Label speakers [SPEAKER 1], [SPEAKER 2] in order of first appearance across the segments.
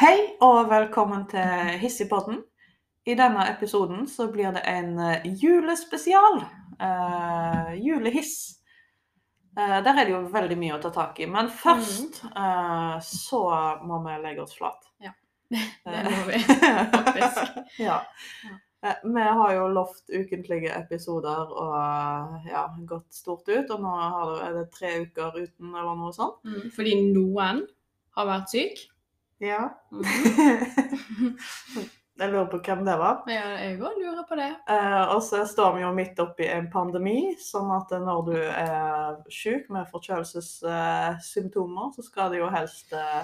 [SPEAKER 1] Hei og velkommen til Hissigpodden. I denne episoden så blir det en eh, julespesial. eh, julehiss. Eh, der er det jo veldig mye å ta tak i. Men først eh, så må vi legge oss flat.
[SPEAKER 2] Ja.
[SPEAKER 1] Eh,
[SPEAKER 2] Det må vi faktisk.
[SPEAKER 1] ja. Eh, Vi har jo lovt ukentlige episoder og eh, ja, gått stort ut. Og nå har det, er det tre uker uten eller noe sånt.
[SPEAKER 2] Mm, Fordi noen har vært syk.
[SPEAKER 1] Ja.
[SPEAKER 2] Mhm.
[SPEAKER 1] Mhm. Jeg lurer på hvem det var.
[SPEAKER 2] Men Ja, jeg òg lurer på det.
[SPEAKER 1] Eh, og så står vi jo midt oppi en pandemi, sånn at når du er syk med forkjølelsessymptomer, så skal det jo helst eh,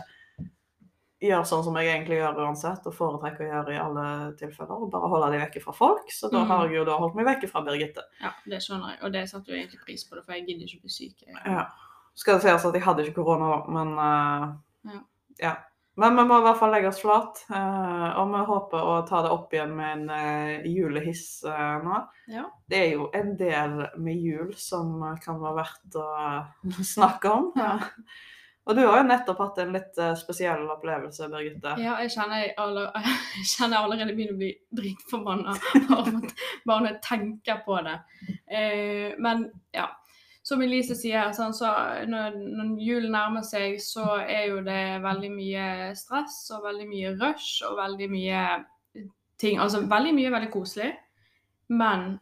[SPEAKER 1] gjøre sånn som jeg egentlig gjør uansett, og foretrekker å gjøre i alle tilfeller, og bare holde deg vekke fra folk. Så da
[SPEAKER 2] Mm.
[SPEAKER 1] har jeg jo da holdt meg vekke fra Birgitte.
[SPEAKER 2] Ja, det skjønner jeg. Og det satte jo egentlig pris på, det, for jeg gidder ikke å bli syk. jeg.
[SPEAKER 1] Ja. Skal det sies at jeg hadde ikke korona, da, men eh,
[SPEAKER 2] Ja.
[SPEAKER 1] ja. Men vi må i hvert fall legge oss flat, eh, og vi håper å ta det opp igjen med en eh, julehiss eh, nå.
[SPEAKER 2] Ja.
[SPEAKER 1] det er jo en del med jul som eh, kan være verdt å eh, snakke om.
[SPEAKER 2] Ja.
[SPEAKER 1] Og du har jo nettopp hatt en litt eh, spesiell opplevelse, Birgitte.
[SPEAKER 2] Ja, jeg kjenner jeg, aller, jeg kjenner jeg allerede begynner å bli dritforbanna bare av at- bare når jeg tenker på det. Eh, men ja. Som Elise sier, sånn, så når, når julen nærmer seg, så er jo det veldig mye stress og veldig mye rush og veldig mye ting Altså veldig mye er veldig koselig, men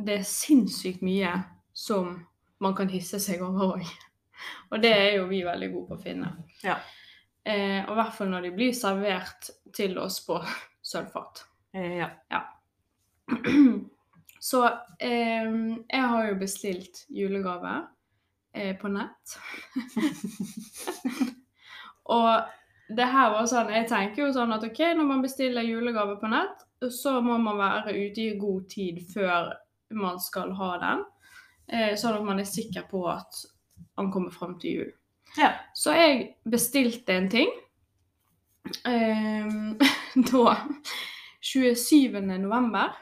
[SPEAKER 2] det er sinnssykt mye som man kan hisse seg over òg. Og det er jo vi veldig gode på å finne. Eh, og i hvert fall når de blir servert til oss på sølvfat.
[SPEAKER 1] Eh, ja.
[SPEAKER 2] Så eh, jeg har jo bestilt julegave eh, på nett. og det her var sånn, jeg tenker jo sånn at ok, når man bestiller julegave på nett, så må man være ute i god tid før man skal ha den. Eh, sånn at man er sikker på at han kommer frem til jul.
[SPEAKER 1] Ja.
[SPEAKER 2] Så jeg bestilte en ting. Ehm, da 27. november.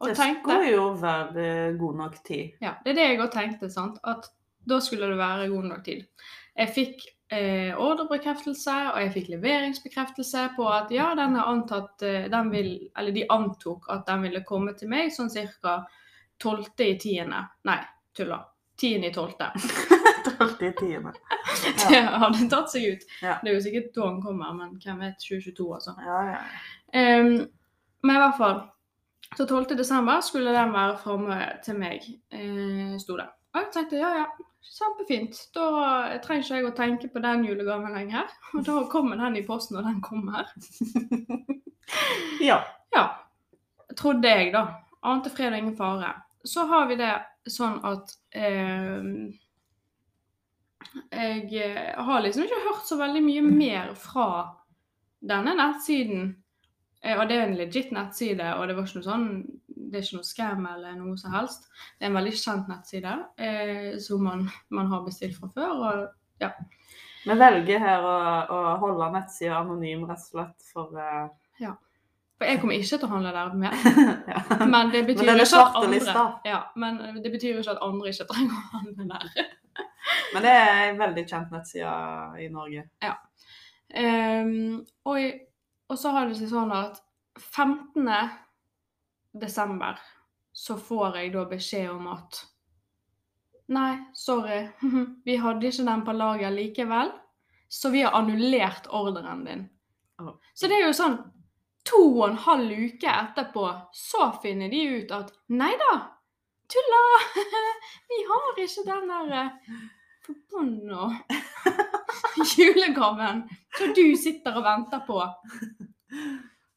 [SPEAKER 2] Og
[SPEAKER 1] Det
[SPEAKER 2] tenkte
[SPEAKER 1] skulle jo være eh, god nok tid.
[SPEAKER 2] Ja, det er det jeg òg tenkte, sant. At da skulle det være god nok tid. Jeg fikk eh, ordrebekreftelse, og jeg fikk leveringsbekreftelse på at ja, den er antatt eh, den vil, Eller de antok at den ville komme til meg sånn ca. 12. i 10. Nei, tulla. 10. i 12.
[SPEAKER 1] Alltid i tiende.
[SPEAKER 2] Det hadde tatt seg ut.
[SPEAKER 1] Ja.
[SPEAKER 2] Det er jo sikkert da han kommer, men hvem vet 2022, altså.
[SPEAKER 1] Ja, ja.
[SPEAKER 2] Ehm, men i hvert fall. Så 12. desember skulle den være framme til meg, uh, sto det. Og jeg tenkte ja, ja, kjempefint. Da trenger ikke jeg å tenke på den julegaven lenger. Og da kommer den i posten når den kommer.
[SPEAKER 1] ja.
[SPEAKER 2] Ja, trodde jeg da. Ante fred og ingen fare. Så har vi det sånn at eh, Jeg eh, har liksom ikke hørt så veldig mye mer fra denne nettsiden. Eh, og det er en legit nettside, og det var ikke noe sånn det er ikke noe scam eller noe som helst. Det er en veldig kjent nettside eh, som man, man har bestilt fra før. Og
[SPEAKER 1] Vi velger her å, å holde nettsida anonym, rett og slett, for eh,
[SPEAKER 2] For jeg kommer ikke til å handle der mer.
[SPEAKER 1] ja.
[SPEAKER 2] Men det betyr
[SPEAKER 1] Men den er
[SPEAKER 2] jo ikke at
[SPEAKER 1] svarte lista.
[SPEAKER 2] andre ja, men det betyr jo ikke at andre ikke trenger å handle der.
[SPEAKER 1] Men det er en veldig kjent nettside i Norge.
[SPEAKER 2] Ehm, og, i- og så har det seg sånn at 15. desember så får jeg da beskjed om at Nei, sorry, vi hadde ikke den på lager likevel, så vi har annullert ordren din.
[SPEAKER 1] Å.
[SPEAKER 2] Så det er jo sånn to og en halv uke etterpå, så finner de ut at Nei da, tulla! Vi har ikke den der eh, forbanna julegaven som du sitter og venter på.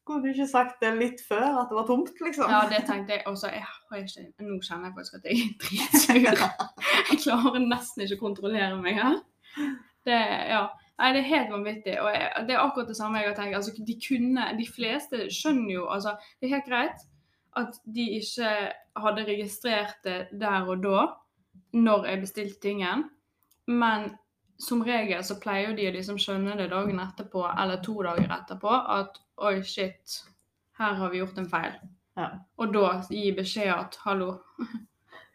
[SPEAKER 1] Kunne du ikke sagt det litt før, at det var tomt, liksom?
[SPEAKER 2] Ja, det tenkte jeg også. Jeg har ikke, nå kjenner jeg faktisk at jeg er dritsur. Jeg klarer nesten ikke å kontrollere meg her. Det, ja. Nei, det er helt vanvittig. Og jeg, det er akkurat det samme jeg har tenkt. Altså, de kunne, de fleste skjønner jo altså, Det er helt greit at de ikke hadde registrert det der og da, når jeg bestilte tingen. Men som regel så pleier jo de å liksom skjønne det dagen etterpå, eller to dager etterpå, at oi, shit, her har vi gjort en feil.
[SPEAKER 1] Ja.
[SPEAKER 2] Og da gi beskjed at hallo.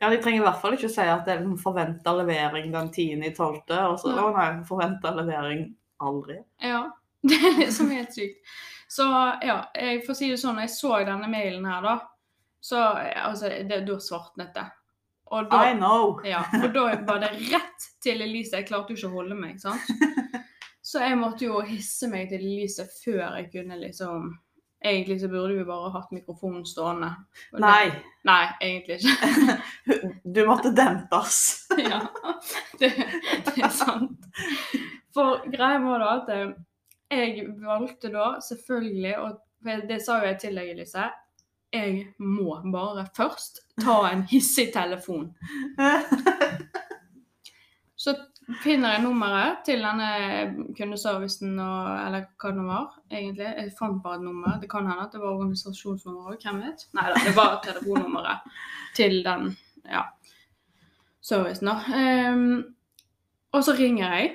[SPEAKER 1] Ja, De trenger i hvert fall ikke si at det er en forventa levering den 10.12., og så
[SPEAKER 2] Nei.
[SPEAKER 1] å nei, forventa levering aldri.
[SPEAKER 2] Ja. Det er liksom helt sykt. Så ja, jeg får si det sånn, jeg så denne mailen her, da. Så altså, det, da svartnet det. Og da,
[SPEAKER 1] I know.
[SPEAKER 2] ja, og da var det rett til Elise. Jeg klarte jo ikke å holde meg, sant. Så jeg måtte jo hisse meg til Elise før jeg kunne liksom Egentlig så burde vi bare hatt mikrofonen stående. Og det-
[SPEAKER 1] Nei,
[SPEAKER 2] Nei, egentlig ikke.
[SPEAKER 1] du måtte dempes.
[SPEAKER 2] ja, det, det er sant. For greia var da at eh, jeg valgte da selvfølgelig å for Det sa jo jeg til deg, Elise. Jeg må bare først ta en hissig telefon. Så finner jeg nummeret til denne kundeservicen, og, eller hva det nå var. egentlig. Jeg fant bare et nummer. Det kan hende at det var organisasjonsnummeret òg, hvem vet. Nei da, det var telefonnummeret til den ja, servicen, da. Ehm, og så ringer jeg,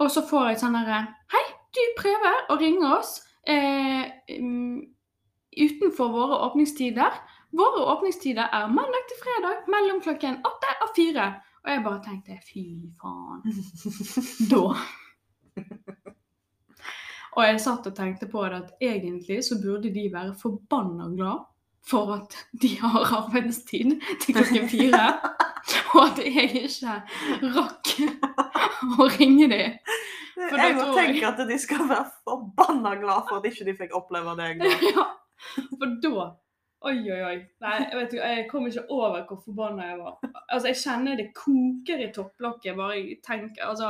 [SPEAKER 2] og så får jeg sånn herre Hei, du prøver å ringe oss eh, mm, utenfor våre åpningstider. Våre åpningstider er mandag til fredag mellom klokken åtte og fire. Og jeg bare tenkte fy faen. Da. Og jeg satt og tenkte på det at egentlig så burde de være forbanna glad for at de har arbeidstid til klokken fire. Og at jeg ikke rakk å ringe dem. da
[SPEAKER 1] Jeg må
[SPEAKER 2] tror jeg-
[SPEAKER 1] tenke at de skal være forbanna glad for at ikke de fikk oppleve det jeg gjorde.
[SPEAKER 2] Ja, for da Oi, oi, oi. Nei, jeg vet ikke, jeg kom ikke over hvor forbanna jeg var. Altså, Jeg kjenner det koker i topplokket bare jeg tenker Altså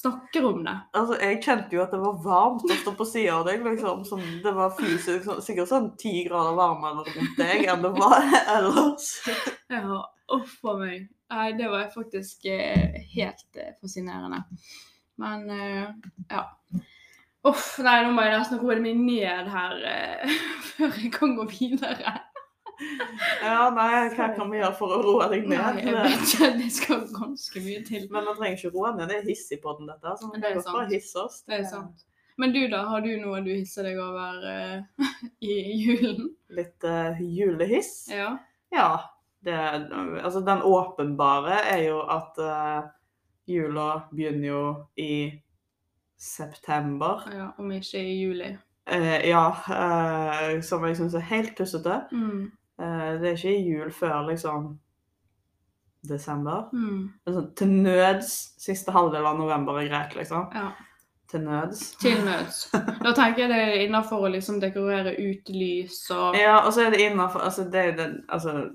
[SPEAKER 2] Snakker om det.
[SPEAKER 1] Altså, jeg kjente jo at det var varmt å stå på sida av deg. liksom. Sånn, det var fysisk sånn, sikkert sånn ti grader varmere rundt deg enn det var ellers.
[SPEAKER 2] Ja, uff a meg. Nei, det var faktisk eh, helt eh, fascinerende. Men eh, ja. Uff, nei, nå må jeg nesten roe meg ned her eh, før jeg kan gå videre.
[SPEAKER 1] Ja, nei, hva kan vi gjøre for å roe deg
[SPEAKER 2] Nei,
[SPEAKER 1] ned?
[SPEAKER 2] jeg vet ikke. Det skal ganske mye til.
[SPEAKER 1] Men man trenger ikke roe ned. Det er hiss i podden, dette. altså. Så man
[SPEAKER 2] Det er
[SPEAKER 1] kan godt bare
[SPEAKER 2] sant.
[SPEAKER 1] hisse oss.
[SPEAKER 2] Det er sant. Men du da, har du noe du hisser deg over eh, i julen?
[SPEAKER 1] Litt eh, julehiss.
[SPEAKER 2] Ja.
[SPEAKER 1] Ja. Det, altså, den åpenbare er jo at eh, jula begynner jo i september.
[SPEAKER 2] ja om ikke i juli.
[SPEAKER 1] Eh, ja, eh, som jeg syns er helt tussete.
[SPEAKER 2] Mm.
[SPEAKER 1] Eh, det er ikke jul før liksom desember.
[SPEAKER 2] Mm.
[SPEAKER 1] Det er sånn, til nøds siste halvdel av november er greit, liksom.
[SPEAKER 2] Ja.
[SPEAKER 1] Til nøds.
[SPEAKER 2] Til nøds. Da tenker jeg det er innafor å liksom dekorere utelys og
[SPEAKER 1] Ja, og så er det innenfor altså, det er den, altså,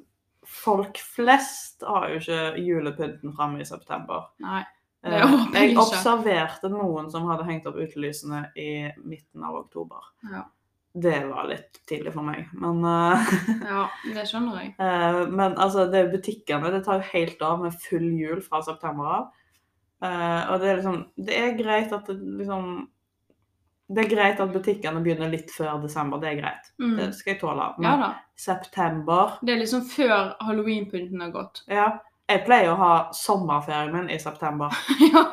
[SPEAKER 1] Folk flest har jo ikke julepynten framme i september.
[SPEAKER 2] Nei. Det
[SPEAKER 1] Eh,
[SPEAKER 2] håper jeg
[SPEAKER 1] Jeg
[SPEAKER 2] ikke.
[SPEAKER 1] observerte noen som hadde hengt opp utelysene i midten av oktober.
[SPEAKER 2] Ja.
[SPEAKER 1] Det var litt tidlig for meg. Men, eh,
[SPEAKER 2] ja, det skjønner jeg.
[SPEAKER 1] eh, men altså, det er butikkene det tar jo helt av med full jul fra september av. Eh, og det er liksom Det er greit at det liksom Det er greit at butikkene begynner litt før desember. Det er greit.
[SPEAKER 2] Mm.
[SPEAKER 1] Det skal jeg tåle. Men
[SPEAKER 2] Ja da.
[SPEAKER 1] september
[SPEAKER 2] Det er liksom før halloweenpynten har gått.
[SPEAKER 1] Ja. Jeg pleier å ha sommerferien min i september.
[SPEAKER 2] ja,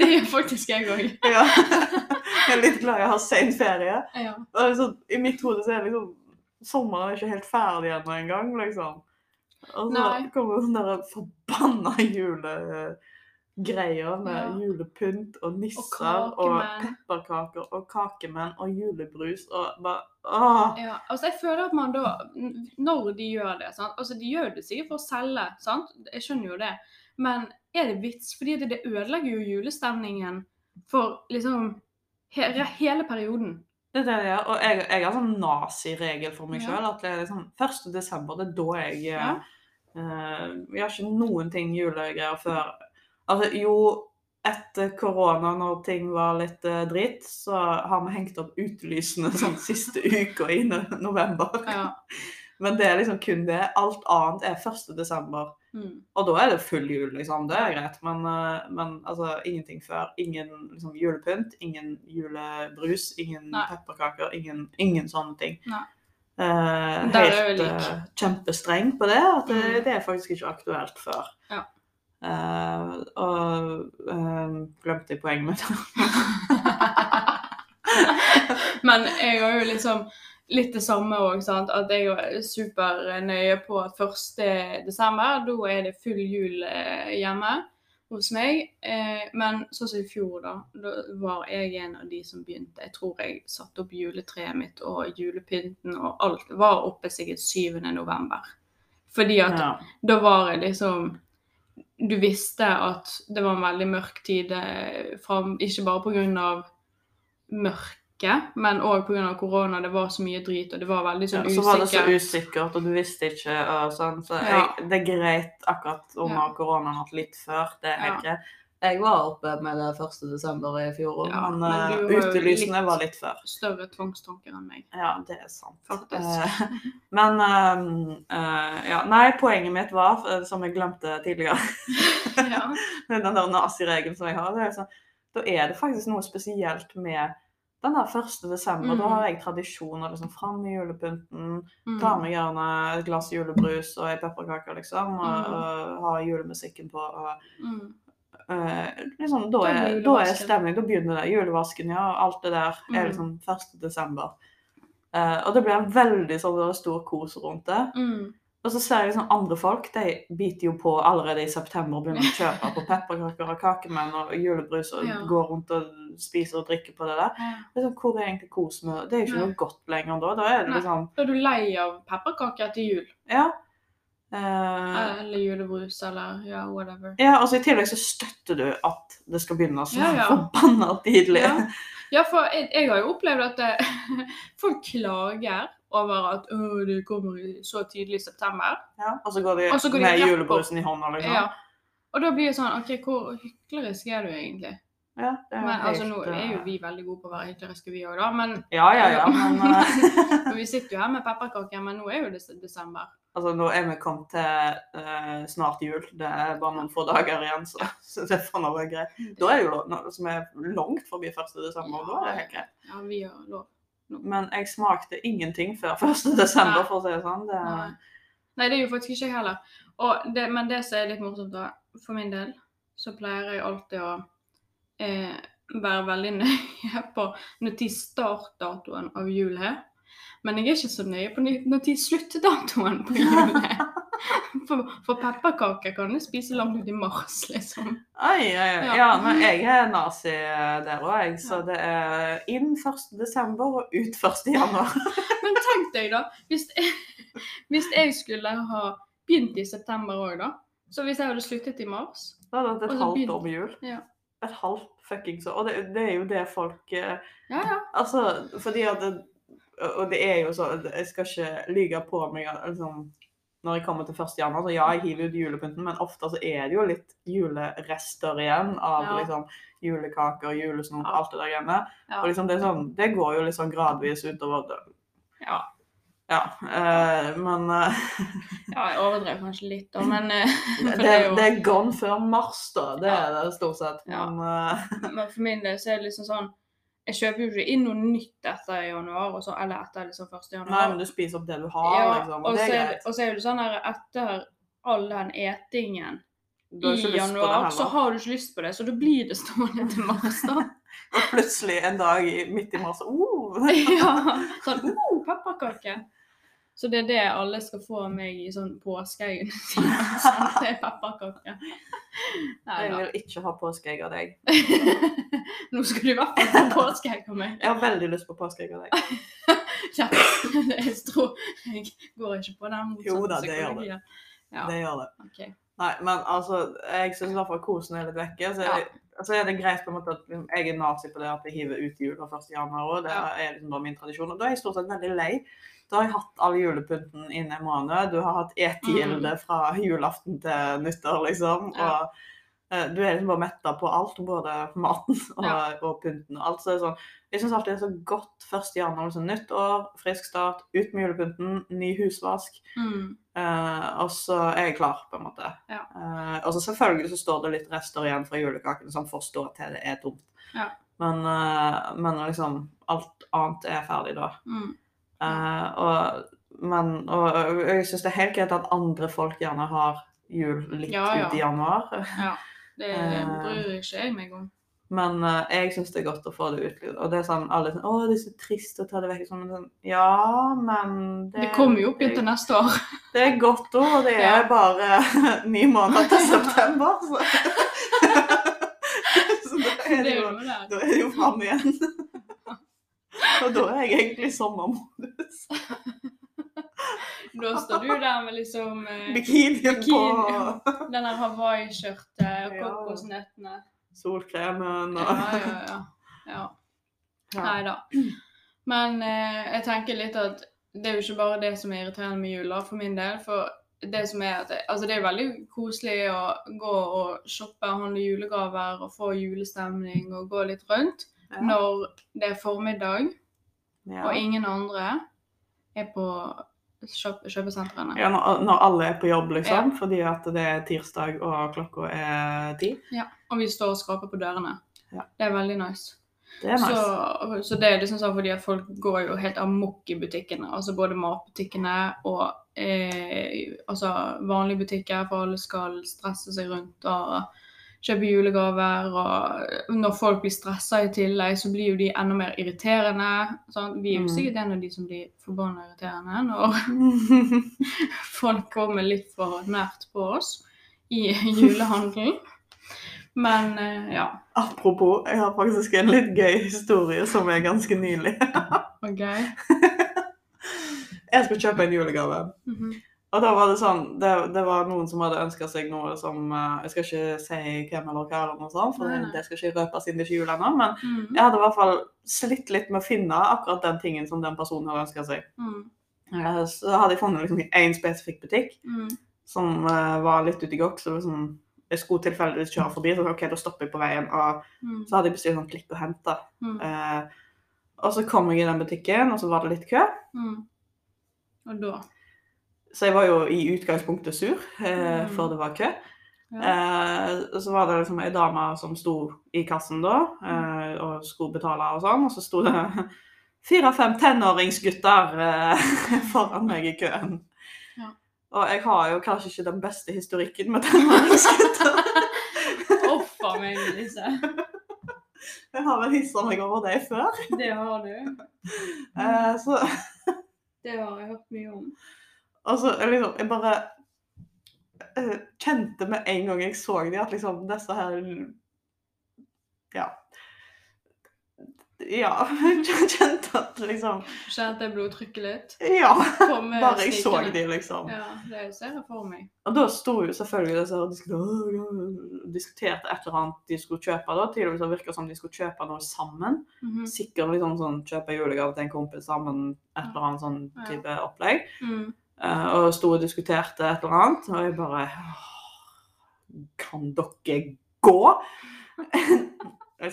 [SPEAKER 2] det gjør faktisk jeg òg.
[SPEAKER 1] ja. Jeg er litt glad jeg har sen ferie.
[SPEAKER 2] Ja.
[SPEAKER 1] Og det er sånn, I mitt hode så er liksom sommeren er ikke helt ferdig ennå engang, liksom. Og så
[SPEAKER 2] Nei.
[SPEAKER 1] kommer den der forbanna julegreia med
[SPEAKER 2] Ja.
[SPEAKER 1] julepynt og
[SPEAKER 2] Og
[SPEAKER 1] nisser og,
[SPEAKER 2] kakemenn.
[SPEAKER 1] pepperkaker og kakemenn og julebrus og bare Åh!
[SPEAKER 2] Ja, altså jeg føler at man da, n- når de gjør det, sant? altså de gjør det sikkert for å selge, sant? jeg skjønner jo det, men er det vits? Fordi det, det ødelegger jo julestemningen for liksom he hele perioden.
[SPEAKER 1] Det er det jeg gjør. Og jeg, jeg har sånn naziregel for meg
[SPEAKER 2] Ja.
[SPEAKER 1] sjøl. At det er liksom 1. desember, det er da jeg
[SPEAKER 2] Ja.
[SPEAKER 1] eh, Jeg har ikke noen ting julegreier før Altså jo, etter korona, når ting var litt eh, dritt, så har vi hengt opp utelysene sånn siste uka i no- november.
[SPEAKER 2] Ja.
[SPEAKER 1] Men det er liksom kun det. Alt annet er 1. desember.
[SPEAKER 2] Mm.
[SPEAKER 1] Og da er det full jul, liksom. Det er greit. Men, eh, men altså, ingenting før. Ingen liksom, julepynt, ingen julebrus, ingen
[SPEAKER 2] Nei.
[SPEAKER 1] pepperkaker, ingen, ingen sånne ting.
[SPEAKER 2] Nei.
[SPEAKER 1] Eh,
[SPEAKER 2] Der er
[SPEAKER 1] helt
[SPEAKER 2] jeg lik.
[SPEAKER 1] eh, kjempestreng på det. At det,
[SPEAKER 2] Mm.
[SPEAKER 1] det er faktisk ikke aktuelt før.
[SPEAKER 2] Ja.
[SPEAKER 1] Eh, og eh, glemte jeg poenget mitt.
[SPEAKER 2] Men jeg har jo liksom litt det samme òg, sant. At jeg er supernøye på at 1. desember, da er det full jul eh, hjemme. hos meg. Eh, men sånn som i fjor, da, da var jeg en av de som begynte. Jeg tror jeg satte opp juletreet mitt og julepynten og alt var oppe sikkert 7. november. Fordi at
[SPEAKER 1] Ja.
[SPEAKER 2] da var jeg liksom Du visste at det var en veldig mørk tid, eh, fram, ikke bare pga. mørket, men òg pga. korona. Det var så mye drit, og det var
[SPEAKER 1] Ja,
[SPEAKER 2] veldig sånn
[SPEAKER 1] så var det så
[SPEAKER 2] usikkert.
[SPEAKER 1] usikkert, og du visste ikke. Og sånn, så jeg,
[SPEAKER 2] Ja.
[SPEAKER 1] det er greit akkurat under koronaen at litt før. Det er helt greit. Jeg var oppe med det 1. desember i fjor,
[SPEAKER 2] Ja,
[SPEAKER 1] men,
[SPEAKER 2] men
[SPEAKER 1] eh,
[SPEAKER 2] du var jo
[SPEAKER 1] utelysene
[SPEAKER 2] litt-
[SPEAKER 1] var litt før.
[SPEAKER 2] Større tvangstanker enn meg.
[SPEAKER 1] Ja, det er sant.
[SPEAKER 2] Faktisk.
[SPEAKER 1] Eh, men eh, eh, ja, Nei, poenget mitt var, eh, som jeg glemte tidligere,
[SPEAKER 2] Ja.
[SPEAKER 1] den der naziregelen som jeg har, det er sånn, da er det faktisk noe spesielt med den der 1. desember. Da
[SPEAKER 2] Mm.
[SPEAKER 1] har jeg tradisjoner liksom fram med julepynten.
[SPEAKER 2] Mm.
[SPEAKER 1] Tar meg gjerne et glass julebrus og ei pepperkake, liksom. Og,
[SPEAKER 2] Mm.
[SPEAKER 1] og har julemusikken på. Og,
[SPEAKER 2] Mm.
[SPEAKER 1] eh, liksom, da,
[SPEAKER 2] Da
[SPEAKER 1] er,
[SPEAKER 2] blir
[SPEAKER 1] da er
[SPEAKER 2] julevasken.
[SPEAKER 1] stemning. Da begynner det. Julevasken, ja. og Alt det der er
[SPEAKER 2] Mm.
[SPEAKER 1] liksom 1. desember. Eh, og det blir en veldig sånn det er stor kos rundt det.
[SPEAKER 2] Mm.
[SPEAKER 1] Og så ser jeg sånn andre folk, de biter jo på allerede i september og begynner å kjøpe på pepperkaker og kakemenn og julebrus og
[SPEAKER 2] Ja.
[SPEAKER 1] går rundt og spiser og drikker på det der.
[SPEAKER 2] Ja.
[SPEAKER 1] Det er sånn, hvor er egentlig kosen? med det? Det er jo ikke
[SPEAKER 2] Nei.
[SPEAKER 1] noe godt lenger da. Da er det
[SPEAKER 2] Nei.
[SPEAKER 1] liksom
[SPEAKER 2] Da er du lei av pepperkaker etter jul.
[SPEAKER 1] Ja. Eh,
[SPEAKER 2] Eller julebrus, eller ja, whatever.
[SPEAKER 1] ja, altså I tillegg så støtter du at det skal begynne så
[SPEAKER 2] Ja, ja.
[SPEAKER 1] forbanna tidlig.
[SPEAKER 2] Ja. Ja, for jeg, jeg har jo opplevd at det, folk klager over at «Åh, det kommer i så tidlig i september.
[SPEAKER 1] Ja, og så går de,
[SPEAKER 2] Og så går de
[SPEAKER 1] med
[SPEAKER 2] rett på-
[SPEAKER 1] julebrusen i hånda, liksom.
[SPEAKER 2] Ja. Og da blir det sånn OK, hvor hyklerisk er du egentlig?
[SPEAKER 1] Ja, det er
[SPEAKER 2] Men
[SPEAKER 1] helt,
[SPEAKER 2] altså, nå
[SPEAKER 1] eh,
[SPEAKER 2] er jo vi veldig gode på å være hykleriske, vi òg, da. Men
[SPEAKER 1] Ja, ja, ja. Men eh,
[SPEAKER 2] for vi sitter jo her med pepperkaker, men nå er jo det s- desember.
[SPEAKER 1] altså, nå er vi kommet til eh, snart jul. Det er bare noen få dager igjen, så, så det får nå være greit. Da er det jo lo- noe som er langt forbi 1. desember, og da er det helt greit.
[SPEAKER 2] Ja, vi har lov.
[SPEAKER 1] Men jeg smakte ingenting før 1. desember,
[SPEAKER 2] Nei.
[SPEAKER 1] for å si det sånn. Det,
[SPEAKER 2] Nei. Nei, det er jo faktisk ikke jeg heller. Og det, men det som er litt morsomt, da, for min del, så pleier jeg alltid å eh, være veldig nøye på når tid startdatoen av jul er. Men jeg er ikke så nøye på ny- når tid sluttdatoen på jul er. For, for pepperkaker kan jeg spise langt ut i mars, liksom.
[SPEAKER 1] Oi, oi, oi.
[SPEAKER 2] Ja.
[SPEAKER 1] Ja, men jeg er nazi eh, der òg, jeg. Så det er inn 1. desember og ut 1. januar.
[SPEAKER 2] Men tenk deg, da. Hvis jeg, hvis jeg skulle ha begynt i september òg, da. Så hvis jeg hadde sluttet i mars
[SPEAKER 1] Da hadde det
[SPEAKER 2] Og
[SPEAKER 1] et
[SPEAKER 2] så
[SPEAKER 1] halvt
[SPEAKER 2] begynte-
[SPEAKER 1] år med jul.
[SPEAKER 2] Ja.
[SPEAKER 1] Et halvt fuckings år. Og det, det er jo det folk eh,
[SPEAKER 2] Ja, ja.
[SPEAKER 1] Altså, fordi at det, Og det er jo så Jeg skal ikke lyge på meg at, liksom, når jeg kommer til 1. januar, så ja, jeg hiver ut julepynten, men ofte så er det jo litt julerester igjen av
[SPEAKER 2] Ja.
[SPEAKER 1] liksom julekaker, julesnop,
[SPEAKER 2] Ja.
[SPEAKER 1] alt det der greiene.
[SPEAKER 2] Ja.
[SPEAKER 1] Og liksom det, er sånn, det går jo litt sånn gradvis utover det.
[SPEAKER 2] Ja.
[SPEAKER 1] Ja, eh, men eh,
[SPEAKER 2] Ja, jeg overdrev kanskje litt, da, men, eh,
[SPEAKER 1] det,
[SPEAKER 2] for det er jo,
[SPEAKER 1] det er gone før mars, da. Det er det stort sett.
[SPEAKER 2] Ja.
[SPEAKER 1] Men eh,
[SPEAKER 2] men for min del så er det liksom sånn Jeg kjøper jo ikke inn noe nytt etter januar, og så, eller etter liksom 1. januar.
[SPEAKER 1] nei, men du spiser opp det du har,
[SPEAKER 2] ja,
[SPEAKER 1] liksom.
[SPEAKER 2] og,
[SPEAKER 1] Og det
[SPEAKER 2] så
[SPEAKER 1] er
[SPEAKER 2] er, det-
[SPEAKER 1] greit.
[SPEAKER 2] og så er det sånn her etter all den etingen
[SPEAKER 1] Du har
[SPEAKER 2] i
[SPEAKER 1] ikke lyst på det
[SPEAKER 2] januar, så
[SPEAKER 1] heller.
[SPEAKER 2] har du ikke lyst på det, så da blir det stående til mars, da.
[SPEAKER 1] Og plutselig en dag i- midt i mars oh,
[SPEAKER 2] ja, sånn oh, pepperkake. Så det er det alle skal få av meg i sånn påskeegg. sant? Det er pepperkake. Nei
[SPEAKER 1] Jeg
[SPEAKER 2] da.
[SPEAKER 1] vil ikke ha påskeegg av deg.
[SPEAKER 2] Nå skal du i hvert fall få påskeegg av meg.
[SPEAKER 1] Jeg har veldig lyst på påskeegg av deg.
[SPEAKER 2] Ja, jeg tror jeg går ikke på den motsatte
[SPEAKER 1] Jo da, det gjør det.
[SPEAKER 2] psykologien. Ja,
[SPEAKER 1] Det gjør det.
[SPEAKER 2] ok.
[SPEAKER 1] Nei, men altså, jeg syns i hvert fall kosen er litt vekke. Så er, så er det greit på en måte at jeg er nazi på det at jeg hiver ut jula 1. januar òg. Det
[SPEAKER 2] Ja.
[SPEAKER 1] er liksom bare min tradisjon. Og da er jeg stort sett veldig lei. Da har jeg hatt all julepynten innen en måned. Du har hatt etegilde fra julaften til nyttår, liksom.
[SPEAKER 2] Mm. Ja.
[SPEAKER 1] Og eh, du er liksom bare metta på alt, både maten og,
[SPEAKER 2] Ja.
[SPEAKER 1] og pynten og alt. Så det er sånn, jeg syns alltid det er så godt 1. januar. Liksom, nytt år, frisk start, ut med julepynten, ny husvask.
[SPEAKER 2] Mm.
[SPEAKER 1] Eh, og så er jeg klar, på en måte.
[SPEAKER 2] Ja.
[SPEAKER 1] Eh, og så selvfølgelig så står det litt rester igjen fra julekakene som får stå til det er tomt.
[SPEAKER 2] Ja.
[SPEAKER 1] Men, eh, men liksom alt annet er ferdig da.
[SPEAKER 2] Mm.
[SPEAKER 1] Eh, og, men, og jeg syns det er helt greit at andre folk gjerne har jul litt
[SPEAKER 2] Ja, ja.
[SPEAKER 1] ut i januar.
[SPEAKER 2] Ja. Det
[SPEAKER 1] Eh.
[SPEAKER 2] bryr ikke jeg meg om.
[SPEAKER 1] Men eh, jeg syns det er godt å få det ut. Og det er sånn alle sånn 'Å, det er så trist å ta det vekk.' Sånn, men sånn, ja, men
[SPEAKER 2] Det kommer jo opp igjen til neste år.
[SPEAKER 1] Det er godt òg, og det er
[SPEAKER 2] Ja.
[SPEAKER 1] bare ni måneder til september. Så. er
[SPEAKER 2] Det
[SPEAKER 1] det
[SPEAKER 2] er jo
[SPEAKER 1] jo,
[SPEAKER 2] noe der.
[SPEAKER 1] da er det jo fram igjen. Og da er jeg egentlig i sommermodus.
[SPEAKER 2] Da står du der med liksom eh,
[SPEAKER 1] Bikinien på
[SPEAKER 2] Bikini, ja. den der Hawaii-skjørtet og
[SPEAKER 1] Ja.
[SPEAKER 2] kokosnøttene.
[SPEAKER 1] solkremen
[SPEAKER 2] Ja,
[SPEAKER 1] og
[SPEAKER 2] ja, ja. ja.
[SPEAKER 1] ja.
[SPEAKER 2] Nei da. Men eh, jeg tenker litt at det er jo ikke bare det som er irriterende med jula, for min del. For det som er at Altså, det er veldig koselig å gå og shoppe, handle julegaver og få julestemning og gå litt rundt
[SPEAKER 1] Ja.
[SPEAKER 2] når det er formiddag
[SPEAKER 1] Ja.
[SPEAKER 2] og ingen andre er på kjøp kjøpesentrene.
[SPEAKER 1] Ja, når, når alle er på jobb, liksom. Fordi at det er tirsdag og klokka er ti.
[SPEAKER 2] Og vi står og skraper på dørene.
[SPEAKER 1] Ja.
[SPEAKER 2] Det er veldig nice.
[SPEAKER 1] Det er nice.
[SPEAKER 2] Så, så det er liksom sånn fordi at folk går jo helt amok i butikkene. Altså både matbutikkene og eh, altså vanlige butikker, for alle skal stresse seg rundt og kjøpe julegaver. Og når folk blir stressa i tillegg, så blir jo de enda mer irriterende. Sant? Vi er
[SPEAKER 1] Mm.
[SPEAKER 2] jo sikkert en av de som blir forbanna irriterende når folk kommer litt for nært på oss i julehandelen. Men eh, ja.
[SPEAKER 1] Apropos, jeg har faktisk en litt gøy historie som er ganske nylig.
[SPEAKER 2] OK.
[SPEAKER 1] Jeg skulle kjøpe en julegave.
[SPEAKER 2] Mhm.
[SPEAKER 1] Og da var det sånn Det, det var noen som hadde ønska seg noe som eh, Jeg skal ikke si hvem eller hva, eller noe sånt, for
[SPEAKER 2] Nei, nei.
[SPEAKER 1] det skal ikke røpes inn det er ikke jul ennå. Men
[SPEAKER 2] Mhm.
[SPEAKER 1] jeg hadde i hvert fall slitt litt med å finne akkurat den tingen som den personen hadde ønska seg.
[SPEAKER 2] Mm.
[SPEAKER 1] Eh, Så hadde jeg funnet liksom én spesifikk butikk
[SPEAKER 2] Mm.
[SPEAKER 1] som eh, var litt ute i gokk. Så liksom, jeg skulle tilfeldigvis kjøre forbi, så ok, da stopper jeg på veien. Og
[SPEAKER 2] Mm.
[SPEAKER 1] så hadde jeg bestilt sånn klikk og hent. da.
[SPEAKER 2] Mm.
[SPEAKER 1] Eh, og så kom jeg i den butikken, og så var det litt kø.
[SPEAKER 2] Mm. Og da
[SPEAKER 1] Så jeg var jo i utgangspunktet sur, eh,
[SPEAKER 2] Mm.
[SPEAKER 1] for det var kø.
[SPEAKER 2] ja.
[SPEAKER 1] Eh, og så var det liksom ei dame som sto i kassen da,
[SPEAKER 2] Mm.
[SPEAKER 1] eh, og skulle betale og sånn. Og så sto det fire-fem tenåringsgutter eh, foran meg i køen.
[SPEAKER 2] Ja.
[SPEAKER 1] Og jeg har jo kanskje ikke den beste historikken med tenåringsgutter.
[SPEAKER 2] Offer meg, Lise.
[SPEAKER 1] Jeg har vel hissa meg over det før.
[SPEAKER 2] Det har du. Mm.
[SPEAKER 1] Eh, så,
[SPEAKER 2] Det har jeg hørt mye om.
[SPEAKER 1] og så jeg liksom, jeg bare eh, kjente med en gang jeg så de at liksom disse her Ja. Ja. Jeg kjente at liksom
[SPEAKER 2] Kjente jeg blodtrykket litt?
[SPEAKER 1] Ja.
[SPEAKER 2] Kom med
[SPEAKER 1] Bare jeg så
[SPEAKER 2] snikende.
[SPEAKER 1] de, liksom.
[SPEAKER 2] Ja, det ser jeg for meg.
[SPEAKER 1] Og da sto jo selvfølgelig disse her og diskuterte, diskuterte et eller annet de skulle kjøpe. da, Tydeligvis det virka som de skulle kjøpe noe sammen.
[SPEAKER 2] Mhm.
[SPEAKER 1] Sikkert liksom sånn kjøpe julegave til en kompis sammen, et eller annet sånn
[SPEAKER 2] Mm. Ja.
[SPEAKER 1] type opplegg.
[SPEAKER 2] Mm.
[SPEAKER 1] Eh, og sto og diskuterte et eller annet, og jeg bare «Åh, Kan dere gå? jeg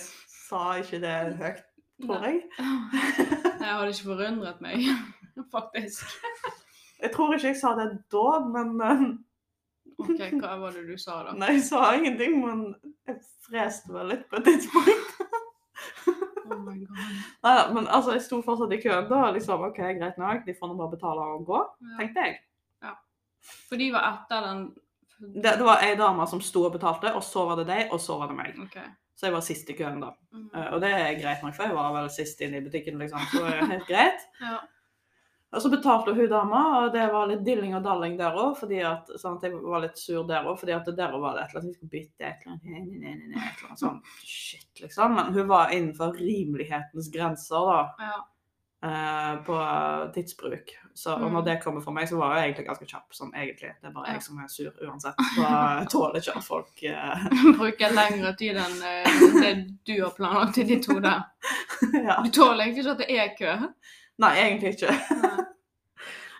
[SPEAKER 1] sa ikke det høyt, tror
[SPEAKER 2] Nei.
[SPEAKER 1] jeg.
[SPEAKER 2] Jeg hadde ikke forundret meg, faktisk.
[SPEAKER 1] Jeg tror ikke jeg sa det da, men
[SPEAKER 2] OK, hva var det du sa
[SPEAKER 1] eh,
[SPEAKER 2] da?
[SPEAKER 1] Nei, jeg sa ingenting, men jeg freste vel litt på et tidspunkt.
[SPEAKER 2] Oh my god.
[SPEAKER 1] Nei, men altså, jeg sto fortsatt i køen da, og liksom OK, greit nok, de får nå bare betale og gå,
[SPEAKER 2] Ja.
[SPEAKER 1] tenkte jeg.
[SPEAKER 2] For de var etter den
[SPEAKER 1] Det, det var ei dame som sto og betalte, og så var det deg, og så var det meg.
[SPEAKER 2] OK.
[SPEAKER 1] Så jeg var sist i køen da.
[SPEAKER 2] Mm.
[SPEAKER 1] Eh, Og det er greit nok, for jeg var vel sist inne i butikken, liksom. Så det er helt greit.
[SPEAKER 2] Ja.
[SPEAKER 1] Og så betalte hun dama, og det var litt dilling og dalling der òg. Fordi at sant, jeg var litt sur der òg, fordi at der også var det et eller annet vi skulle bytte et eller annet, nei, nei, nei, nei, et eller annet sånn shit, liksom. Men hun var innenfor rimelighetens grenser, da.
[SPEAKER 2] ja.
[SPEAKER 1] eh, På tidsbruk. Så, og
[SPEAKER 2] Mm.
[SPEAKER 1] når det kommer fra meg, så var jeg egentlig ganske kjapp. Sånn egentlig. Det er bare
[SPEAKER 2] Ja.
[SPEAKER 1] jeg som er sur uansett. Så jeg tåler ikke at folk eh,
[SPEAKER 2] Bruker lengre tid enn eh, det du har planlagt i ditt hode.
[SPEAKER 1] Ja.
[SPEAKER 2] Du tåler egentlig ikke at det er kø.
[SPEAKER 1] Nei, egentlig ikke.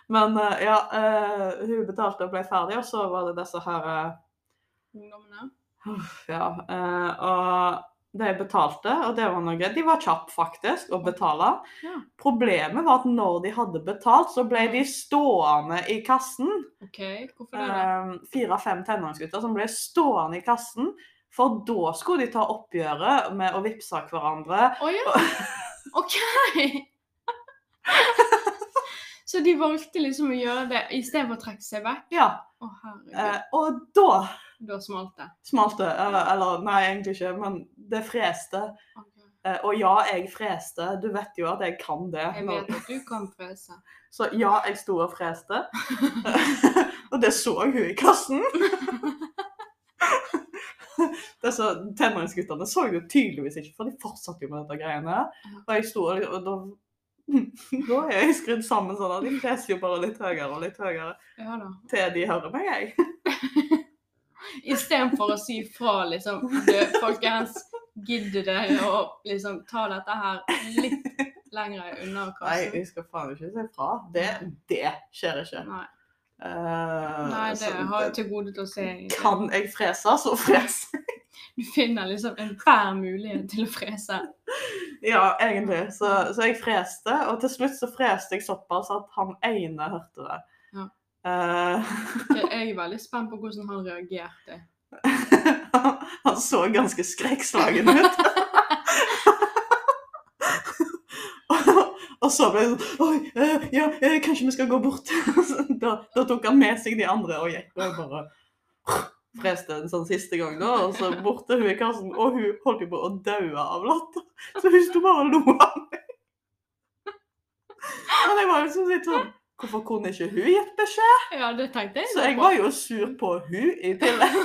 [SPEAKER 1] Men eh, ja, eh, hun betalte og ble ferdig, og så var det disse her eh,
[SPEAKER 2] Ungdommene.
[SPEAKER 1] uff, Ja. eh, og de betalte, og det var noe greit. De var kjappe, faktisk, å betale.
[SPEAKER 2] Ja.
[SPEAKER 1] Problemet var at når de hadde betalt, så ble de stående i kassen.
[SPEAKER 2] OK, hvorfor det? da?
[SPEAKER 1] Eh, Fire-fem tenåringsgutter som ble stående i kassen. For da skulle de ta oppgjøret med å vippse hverandre.
[SPEAKER 2] Å ja! OK! Så de valgte liksom å gjøre det istedenfor å trekke seg vekk?
[SPEAKER 1] Ja,
[SPEAKER 2] Å, herregud.
[SPEAKER 1] eh, Og da
[SPEAKER 2] Da smalt det.
[SPEAKER 1] smalt det. eh, Eller nei, egentlig ikke, men det freste.
[SPEAKER 2] Ok.
[SPEAKER 1] Eh, Og ja, jeg freste. Du vet jo at jeg kan det.
[SPEAKER 2] Jeg
[SPEAKER 1] Når-
[SPEAKER 2] vet at du kan frese.
[SPEAKER 1] Så ja, jeg sto og freste. og det så hun i kassen. disse tenåringsguttene så jo tydeligvis ikke, for de fortsatte jo med dette greiene. Og jeg sto og og da da er jeg skrudd sammen sånn at de leser jo bare litt høyere og litt høyere
[SPEAKER 2] Ja da.
[SPEAKER 1] til de hører meg, jeg.
[SPEAKER 2] Istedenfor å si fra, liksom. Du, folkens, gidder dere å liksom ta dette her litt lengre unna
[SPEAKER 1] Nei,
[SPEAKER 2] kassen?
[SPEAKER 1] vi skal faen ikke si fra. Det, det skjer ikke.
[SPEAKER 2] Nei.
[SPEAKER 1] Eh,
[SPEAKER 2] Nei, det
[SPEAKER 1] så
[SPEAKER 2] har jeg til gode til å se. egentlig.
[SPEAKER 1] Kan jeg frese, så frese.
[SPEAKER 2] Du finner liksom enhver mulighet til å frese.
[SPEAKER 1] Ja, egentlig. Så, så jeg freste, og til slutt så freste jeg såpass at han ene hørte det.
[SPEAKER 2] Ja.
[SPEAKER 1] Eh,
[SPEAKER 2] Jeg er jo veldig spent på hvordan han reagerte.
[SPEAKER 1] han så ganske skrekkslagen ut. Og- Og så ble det sånn Oi, eh, ja, eh, kanskje vi skal gå bort. Så da, da tok han med seg de andre og gikk og bare freste en sånn siste gang, da. Og så bort til hun i kassen, og hun holdt jo på å daue av latter. Så hun sto bare og lo av meg. Men jeg var liksom litt sånn Hvorfor kunne ikke hun gitt beskjed?
[SPEAKER 2] Ja, det tenkte jeg.
[SPEAKER 1] Så jeg var jo sur på hun i tillegg.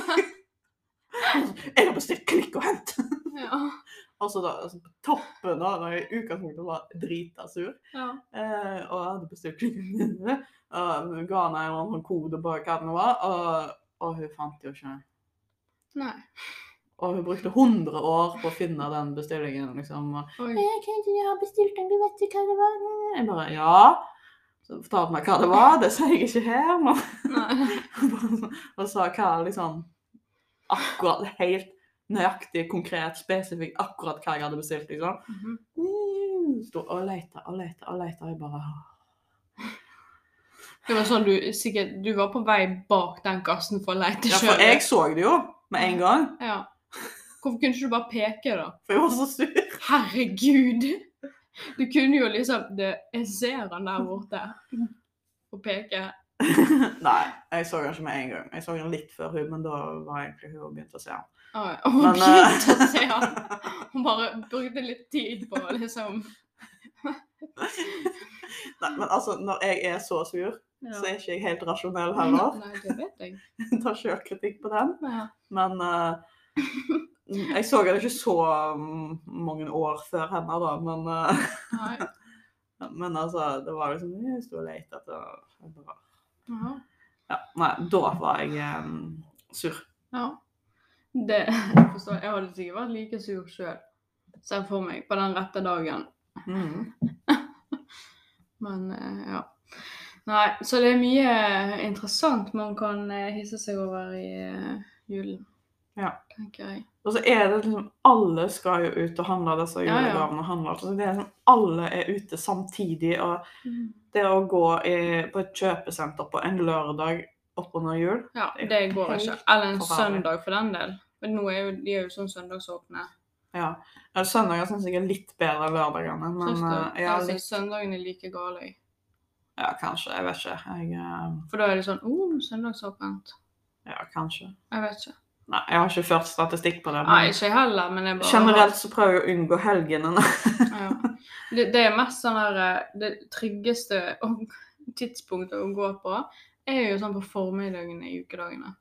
[SPEAKER 1] Jeg har bestilt klikk og hent.
[SPEAKER 2] Ja.
[SPEAKER 1] Altså da, altså på toppen da, da jeg i utgangspunktet var drita sur,
[SPEAKER 2] ja.
[SPEAKER 1] eh, og jeg hadde bestilt klikk og hent, og hun ga henne en eller annen sånn kode på hva den var, og, og hun fant jo ikke.
[SPEAKER 2] Nei.
[SPEAKER 1] Og hun brukte 100 år på å finne den bestillingen, liksom. Og,
[SPEAKER 2] Oi.
[SPEAKER 1] jeg kan ikke, jeg har bestilt den, du vet ikke hva det var. Jeg bare, ja. Så fortalte hun meg hva det var, det sier jeg ikke her, men...
[SPEAKER 2] Nei.
[SPEAKER 1] og sa hva liksom akkurat helt nøyaktig, konkret, spesifikt akkurat hva jeg hadde bestilt. liksom.
[SPEAKER 2] Mhm.
[SPEAKER 1] Mm, Stod og leita og leita og leita, og jeg bare
[SPEAKER 2] Det var sånn du sikkert Du var på vei bak den kassen for å lete
[SPEAKER 1] Ja,
[SPEAKER 2] sjøl.
[SPEAKER 1] for jeg så det jo med en gang,
[SPEAKER 2] Ja. Hvorfor kunne ikke du bare peke, da?
[SPEAKER 1] for jeg var så sur.
[SPEAKER 2] Herregud! Du kunne jo liksom det, Jeg ser han der borte. Og peke.
[SPEAKER 1] Nei, jeg så den ikke med en gang. Jeg så den litt før hun, men da var egentlig hun og begynte å se den.
[SPEAKER 2] Ah, Og hun
[SPEAKER 1] Men, eh,
[SPEAKER 2] begynte å se han. Hun bare brukte litt tid på å liksom
[SPEAKER 1] Nei, men altså, når jeg er så sur,
[SPEAKER 2] ja.
[SPEAKER 1] så er ikke jeg helt rasjonell heller.
[SPEAKER 2] Nei, det vet jeg.
[SPEAKER 1] Tar sjølkritikk på den.
[SPEAKER 2] Ja.
[SPEAKER 1] Men eh, jeg så henne ikke så mm, mange år før henne, da. Men, eh,
[SPEAKER 2] Nei.
[SPEAKER 1] men altså, det var liksom Jeg sto og lette etter jeg bare-
[SPEAKER 2] Ja.
[SPEAKER 1] ja, Nei, da var jeg em, sur.
[SPEAKER 2] Ja. Det jeg forstår jeg. hadde sikkert vært like sur sjøl, ser jeg for meg, på den rette dagen.
[SPEAKER 1] Mhm.
[SPEAKER 2] Men eh, ja. Nei, så det er mye eh, interessant man kan eh, hisse seg over i eh, julen.
[SPEAKER 1] Ja.
[SPEAKER 2] Tenker jeg.
[SPEAKER 1] Og så er det liksom Alle skal jo ut og handle disse
[SPEAKER 2] Ja, ja.
[SPEAKER 1] julegavene. og handle alt. Så det er liksom, alle er ute samtidig. Og det å gå i, på et kjøpesenter på en lørdag oppunder jul
[SPEAKER 2] Ja, det går ikke. Eller en
[SPEAKER 1] forferdelig.
[SPEAKER 2] søndag, for den del. Men nå er jo, de er jo sånn søndagsåpne.
[SPEAKER 1] ja. Ja, Søndager syns jeg er litt bedre enn lørdagene. Men
[SPEAKER 2] Syns du?
[SPEAKER 1] eh,
[SPEAKER 2] Jeg
[SPEAKER 1] ja,
[SPEAKER 2] synes
[SPEAKER 1] litt
[SPEAKER 2] søndagen er like gal, jeg.
[SPEAKER 1] Ja, kanskje. Jeg vet ikke. Jeg, eh,
[SPEAKER 2] For da er det sånn Å, oh, søndagsåpent.
[SPEAKER 1] ja, kanskje.
[SPEAKER 2] Jeg vet ikke.
[SPEAKER 1] Nei, jeg har ikke ført statistikk på det.
[SPEAKER 2] Nei,
[SPEAKER 1] Men
[SPEAKER 2] ikke jeg heller, men jeg bare
[SPEAKER 1] generelt så prøver jeg å unngå helgene.
[SPEAKER 2] Ja. Det, det er mest sånn her eh, Det tryggeste å- tidspunktet å gå på er jo sånn på formiddagene i ukedagene.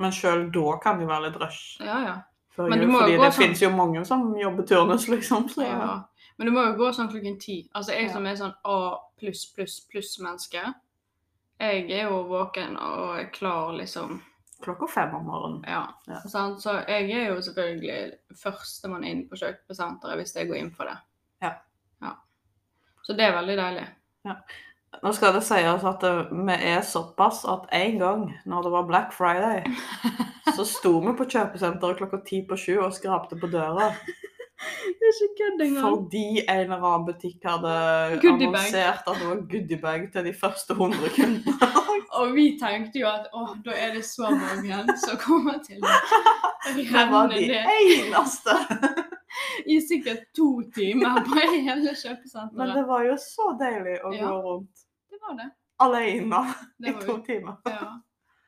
[SPEAKER 1] Men sjøl da kan det være litt rush.
[SPEAKER 2] Ja, ja.
[SPEAKER 1] Før
[SPEAKER 2] Men du
[SPEAKER 1] jul,
[SPEAKER 2] må jo
[SPEAKER 1] fordi
[SPEAKER 2] gå
[SPEAKER 1] det
[SPEAKER 2] sånn-
[SPEAKER 1] finnes jo mange som jobber turnus, liksom. Så ja.
[SPEAKER 2] Ja. Men du må jo gå sånn klokken ti. Altså jeg
[SPEAKER 1] Ja.
[SPEAKER 2] som er sånn A pluss pluss pluss-menneske, jeg er jo våken og er klar, liksom.
[SPEAKER 1] klokka fem om morgenen.
[SPEAKER 2] Ja.
[SPEAKER 1] Ja.
[SPEAKER 2] Sant? Så jeg er jo selvfølgelig førstemann inn på kjøpesenteret hvis jeg går inn for det.
[SPEAKER 1] Ja.
[SPEAKER 2] ja. Så det er veldig deilig.
[SPEAKER 1] Nå skal det sies at eh, vi er såpass at en gang når det var Black Friday, så sto vi på kjøpesenteret klokka ti på sju og skrapte på døra
[SPEAKER 2] Det er ikke kødd
[SPEAKER 1] fordi en eller annen butikk hadde
[SPEAKER 2] Goodiebag.
[SPEAKER 1] annonsert at det var goodiebag til de første 100 kundene.
[SPEAKER 2] Og vi tenkte jo at åh, da er det så mange som kommer til å
[SPEAKER 1] Det var
[SPEAKER 2] renne
[SPEAKER 1] de
[SPEAKER 2] ned
[SPEAKER 1] eneste.
[SPEAKER 2] i sikkert to timer på hele
[SPEAKER 1] Men
[SPEAKER 2] kjøpesenteret.
[SPEAKER 1] det var jo så deilig å
[SPEAKER 2] Ja.
[SPEAKER 1] gå rundt
[SPEAKER 2] Det var det.
[SPEAKER 1] alene i
[SPEAKER 2] Det var,
[SPEAKER 1] to
[SPEAKER 2] jo-
[SPEAKER 1] timer.
[SPEAKER 2] ja,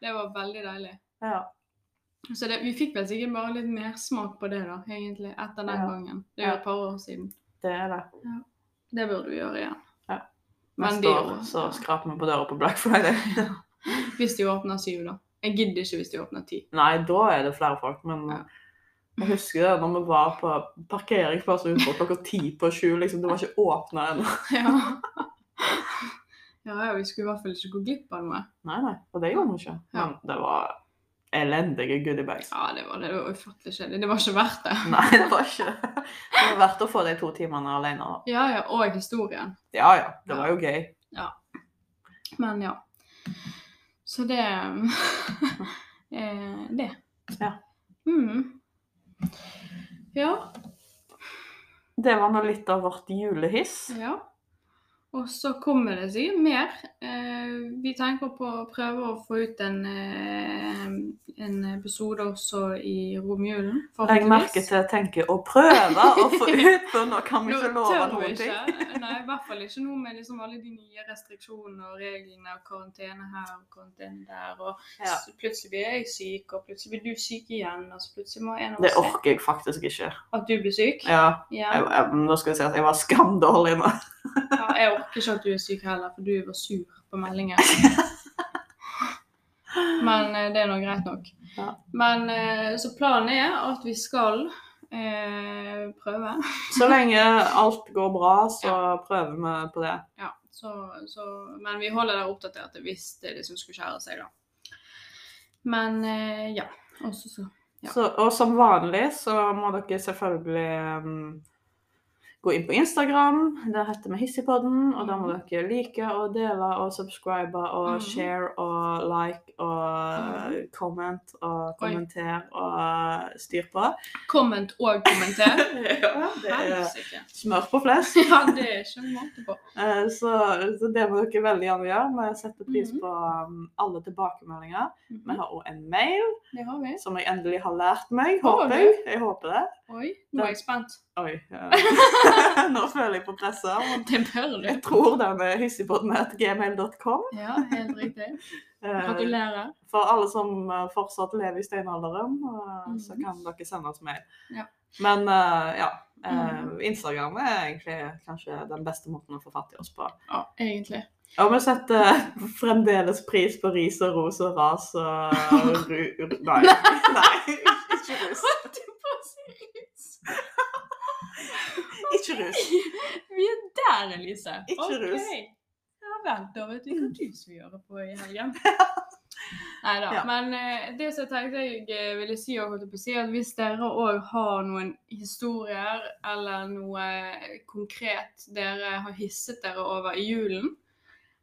[SPEAKER 2] det var veldig deilig.
[SPEAKER 1] Ja.
[SPEAKER 2] Så det, vi fikk vel sikkert bare litt mersmak på det, da, egentlig, etter den
[SPEAKER 1] Ja.
[SPEAKER 2] gangen. Det er jo
[SPEAKER 1] Ja.
[SPEAKER 2] et par år siden.
[SPEAKER 1] Det er det.
[SPEAKER 2] Det burde vi gjøre igjen.
[SPEAKER 1] Ja.
[SPEAKER 2] Men
[SPEAKER 1] Neste
[SPEAKER 2] de,
[SPEAKER 1] år så skraper vi på døra på Black Friday.
[SPEAKER 2] hvis de åpner syv, da. Jeg gidder ikke hvis de åpner ti.
[SPEAKER 1] Nei, da er det flere folk, men
[SPEAKER 2] Ja.
[SPEAKER 1] Jeg husker det når vi var på parkeringsplass utenfor klokka ti på sju. Liksom, det var ikke åpna ennå.
[SPEAKER 2] Ja. ja, ja, vi skulle i hvert fall ikke gå glipp av noe.
[SPEAKER 1] Nei, nei, og det gjorde vi ikke. Men det var elendige goodiebags.
[SPEAKER 2] Ja, det var det. Det var ufattelig kjedelig. Det var ikke verdt det.
[SPEAKER 1] Nei, det var ikke det. var verdt å få de to timene alene. da.
[SPEAKER 2] Ja, ja, og historien.
[SPEAKER 1] Ja ja, det var jo gøy.
[SPEAKER 2] Men ja. Så det um, eh, Det.
[SPEAKER 1] Ja.
[SPEAKER 2] Mm. Ja.
[SPEAKER 1] Det var nå litt av vårt julehiss.
[SPEAKER 2] ja. Og så kommer det sikkert mer. Eh, vi tenker på å prøve å få ut en, eh, en episode også i romjulen.
[SPEAKER 1] Legg merke
[SPEAKER 2] forhåpentligvis.
[SPEAKER 1] til 'tenke og prøve' å få ut, for nå kan vi
[SPEAKER 2] Nå
[SPEAKER 1] ikke love
[SPEAKER 2] tør vi
[SPEAKER 1] noen ting.
[SPEAKER 2] ikke. Nei, i hvert fall ikke nå med liksom alle de nye restriksjonene og reglene og karantene her og karantene der. Og
[SPEAKER 1] Ja.
[SPEAKER 2] s- plutselig blir jeg syk, og plutselig blir du syk igjen. Og så plutselig må en av
[SPEAKER 1] Det
[SPEAKER 2] oss
[SPEAKER 1] orker jeg faktisk ikke.
[SPEAKER 2] At du blir syk?
[SPEAKER 1] Ja,
[SPEAKER 2] Ja.
[SPEAKER 1] jeg, jeg, nå skal jeg si at jeg var skamdårlig nå.
[SPEAKER 2] ja. Jeg orker ikke at du er syk heller, for du var sur på meldingen. Men eh, det er nå greit nok.
[SPEAKER 1] Ja.
[SPEAKER 2] Men eh, så planen er at vi skal eh, prøve.
[SPEAKER 1] Så lenge alt går bra, så prøver vi på det.
[SPEAKER 2] Ja, så, så, men vi holder deg oppdatert hvis det liksom skulle skjære seg, da. Men eh, ja. Og så- så Ja.
[SPEAKER 1] Så, og som vanlig så må dere selvfølgelig um, gå inn på Instagram. Der heter vi Hissigpodden. Og da må dere like og dele og subscribe og
[SPEAKER 2] Mhm.
[SPEAKER 1] share og like og comment og kommenter og styr på.
[SPEAKER 2] comment og kommenter.
[SPEAKER 1] Ja, det er
[SPEAKER 2] Helsike.
[SPEAKER 1] smør på flest.
[SPEAKER 2] Ja, det er ikke måte på.
[SPEAKER 1] Eh, Så, så det må dere veldig gjerne gjøre. Vi setter pris
[SPEAKER 2] Mhm.
[SPEAKER 1] på um, alle tilbakemeldinger. Vi
[SPEAKER 2] Mhm,
[SPEAKER 1] har òg en mail
[SPEAKER 2] Det har vi.
[SPEAKER 1] som jeg endelig har lært meg,
[SPEAKER 2] Har
[SPEAKER 1] håper
[SPEAKER 2] du?
[SPEAKER 1] jeg. Jeg håper det.
[SPEAKER 2] Oi, nå er jeg spent.
[SPEAKER 1] Oi. eh, Nå føler jeg på presset. men
[SPEAKER 2] Det bør du.
[SPEAKER 1] Jeg tror den er hissigpodden.gmail.com.
[SPEAKER 2] Ja, helt riktig.
[SPEAKER 1] Eh,
[SPEAKER 2] Gratulerer.
[SPEAKER 1] For alle som eh, fortsatt lever i steinalderen, eh, så
[SPEAKER 2] Mhm.
[SPEAKER 1] kan dere sende oss mail.
[SPEAKER 2] Ja.
[SPEAKER 1] Men eh, ja. eh,
[SPEAKER 2] Mhm.
[SPEAKER 1] Instagram er egentlig kanskje den beste måten å få fatt i oss på.
[SPEAKER 2] Ja, egentlig.
[SPEAKER 1] Og vi setter eh, fremdeles pris på ris og ros og ras og ru... ru- Nei, nei ikke rus.
[SPEAKER 2] Holdt jeg på å si rus?
[SPEAKER 1] Ikke rus.
[SPEAKER 2] Vi er der, Elise.
[SPEAKER 1] Ikke
[SPEAKER 2] Ok.
[SPEAKER 1] rus. Mm.
[SPEAKER 2] Ja vel, da vet vi hva du skal gjøre på i helgen. Nei da.
[SPEAKER 1] Ja.
[SPEAKER 2] Men eh, det som jeg tenkte jeg eh, ville si, og holdt jeg på å si, at hvis dere òg har noen historier eller noe konkret dere har hisset dere over i julen,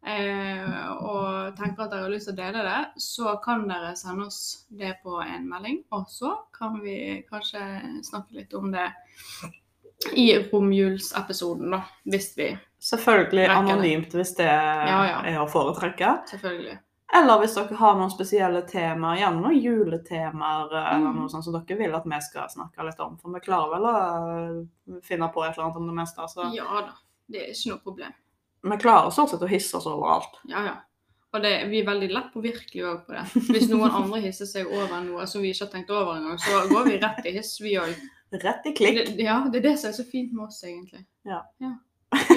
[SPEAKER 2] eh, og tenker at dere har lyst til å dele det, så kan dere sende oss det på en melding. Og så kan vi kanskje snakke litt om det i romjulsepisoden, da. Hvis vi
[SPEAKER 1] Selvfølgelig
[SPEAKER 2] Rekker det.
[SPEAKER 1] anonymt hvis det
[SPEAKER 2] Ja, ja.
[SPEAKER 1] er å foretrekke.
[SPEAKER 2] Selvfølgelig.
[SPEAKER 1] Eller hvis dere har noen spesielle temaer, gjerne noen juletemaer eller
[SPEAKER 2] Mm.
[SPEAKER 1] noe sånt som dere vil at vi skal snakke litt om. For vi klarer vel å øh, finne på et eller annet om det meste. Så.
[SPEAKER 2] Ja da. Det er ikke noe problem.
[SPEAKER 1] Vi klarer stort sett å hisse oss overalt.
[SPEAKER 2] Ja, ja. Og det, vi er veldig lett påvirkelige òg på det. Hvis noen andre hisser seg over noe som vi ikke har tenkt over engang, så går vi rett i hiss, vi òg.
[SPEAKER 1] Rett i klikk.
[SPEAKER 2] Det- Ja, det er det som er så fint med oss, egentlig.
[SPEAKER 1] Ja.
[SPEAKER 2] Vi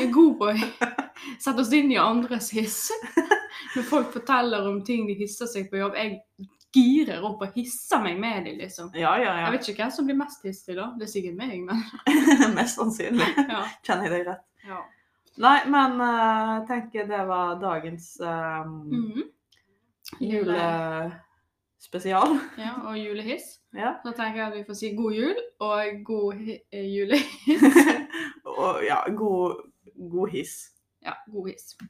[SPEAKER 2] er gode på å sette oss inn i andres hiss. Når folk forteller om ting de hisser seg på jobb, jeg girer opp og hisser meg med dem, liksom.
[SPEAKER 1] Ja, ja,
[SPEAKER 2] Jeg
[SPEAKER 1] ja.
[SPEAKER 2] vet ikke hvem som blir mest hissig da. Det er sikkert meg, men
[SPEAKER 1] Mest sannsynlig.
[SPEAKER 2] ja.
[SPEAKER 1] Kjenner jeg deg rett.
[SPEAKER 2] ja.
[SPEAKER 1] Nei, men øh, jeg tenker det var dagens øh,
[SPEAKER 2] Mhm. eh,
[SPEAKER 1] eh, julespesial.
[SPEAKER 2] Ja, og julehiss.
[SPEAKER 1] Ja.
[SPEAKER 2] Da tenker jeg at vi får si god jul og god hi- eh, julehiss.
[SPEAKER 1] Og ja, god, god hiss.
[SPEAKER 2] Ja, god hiss.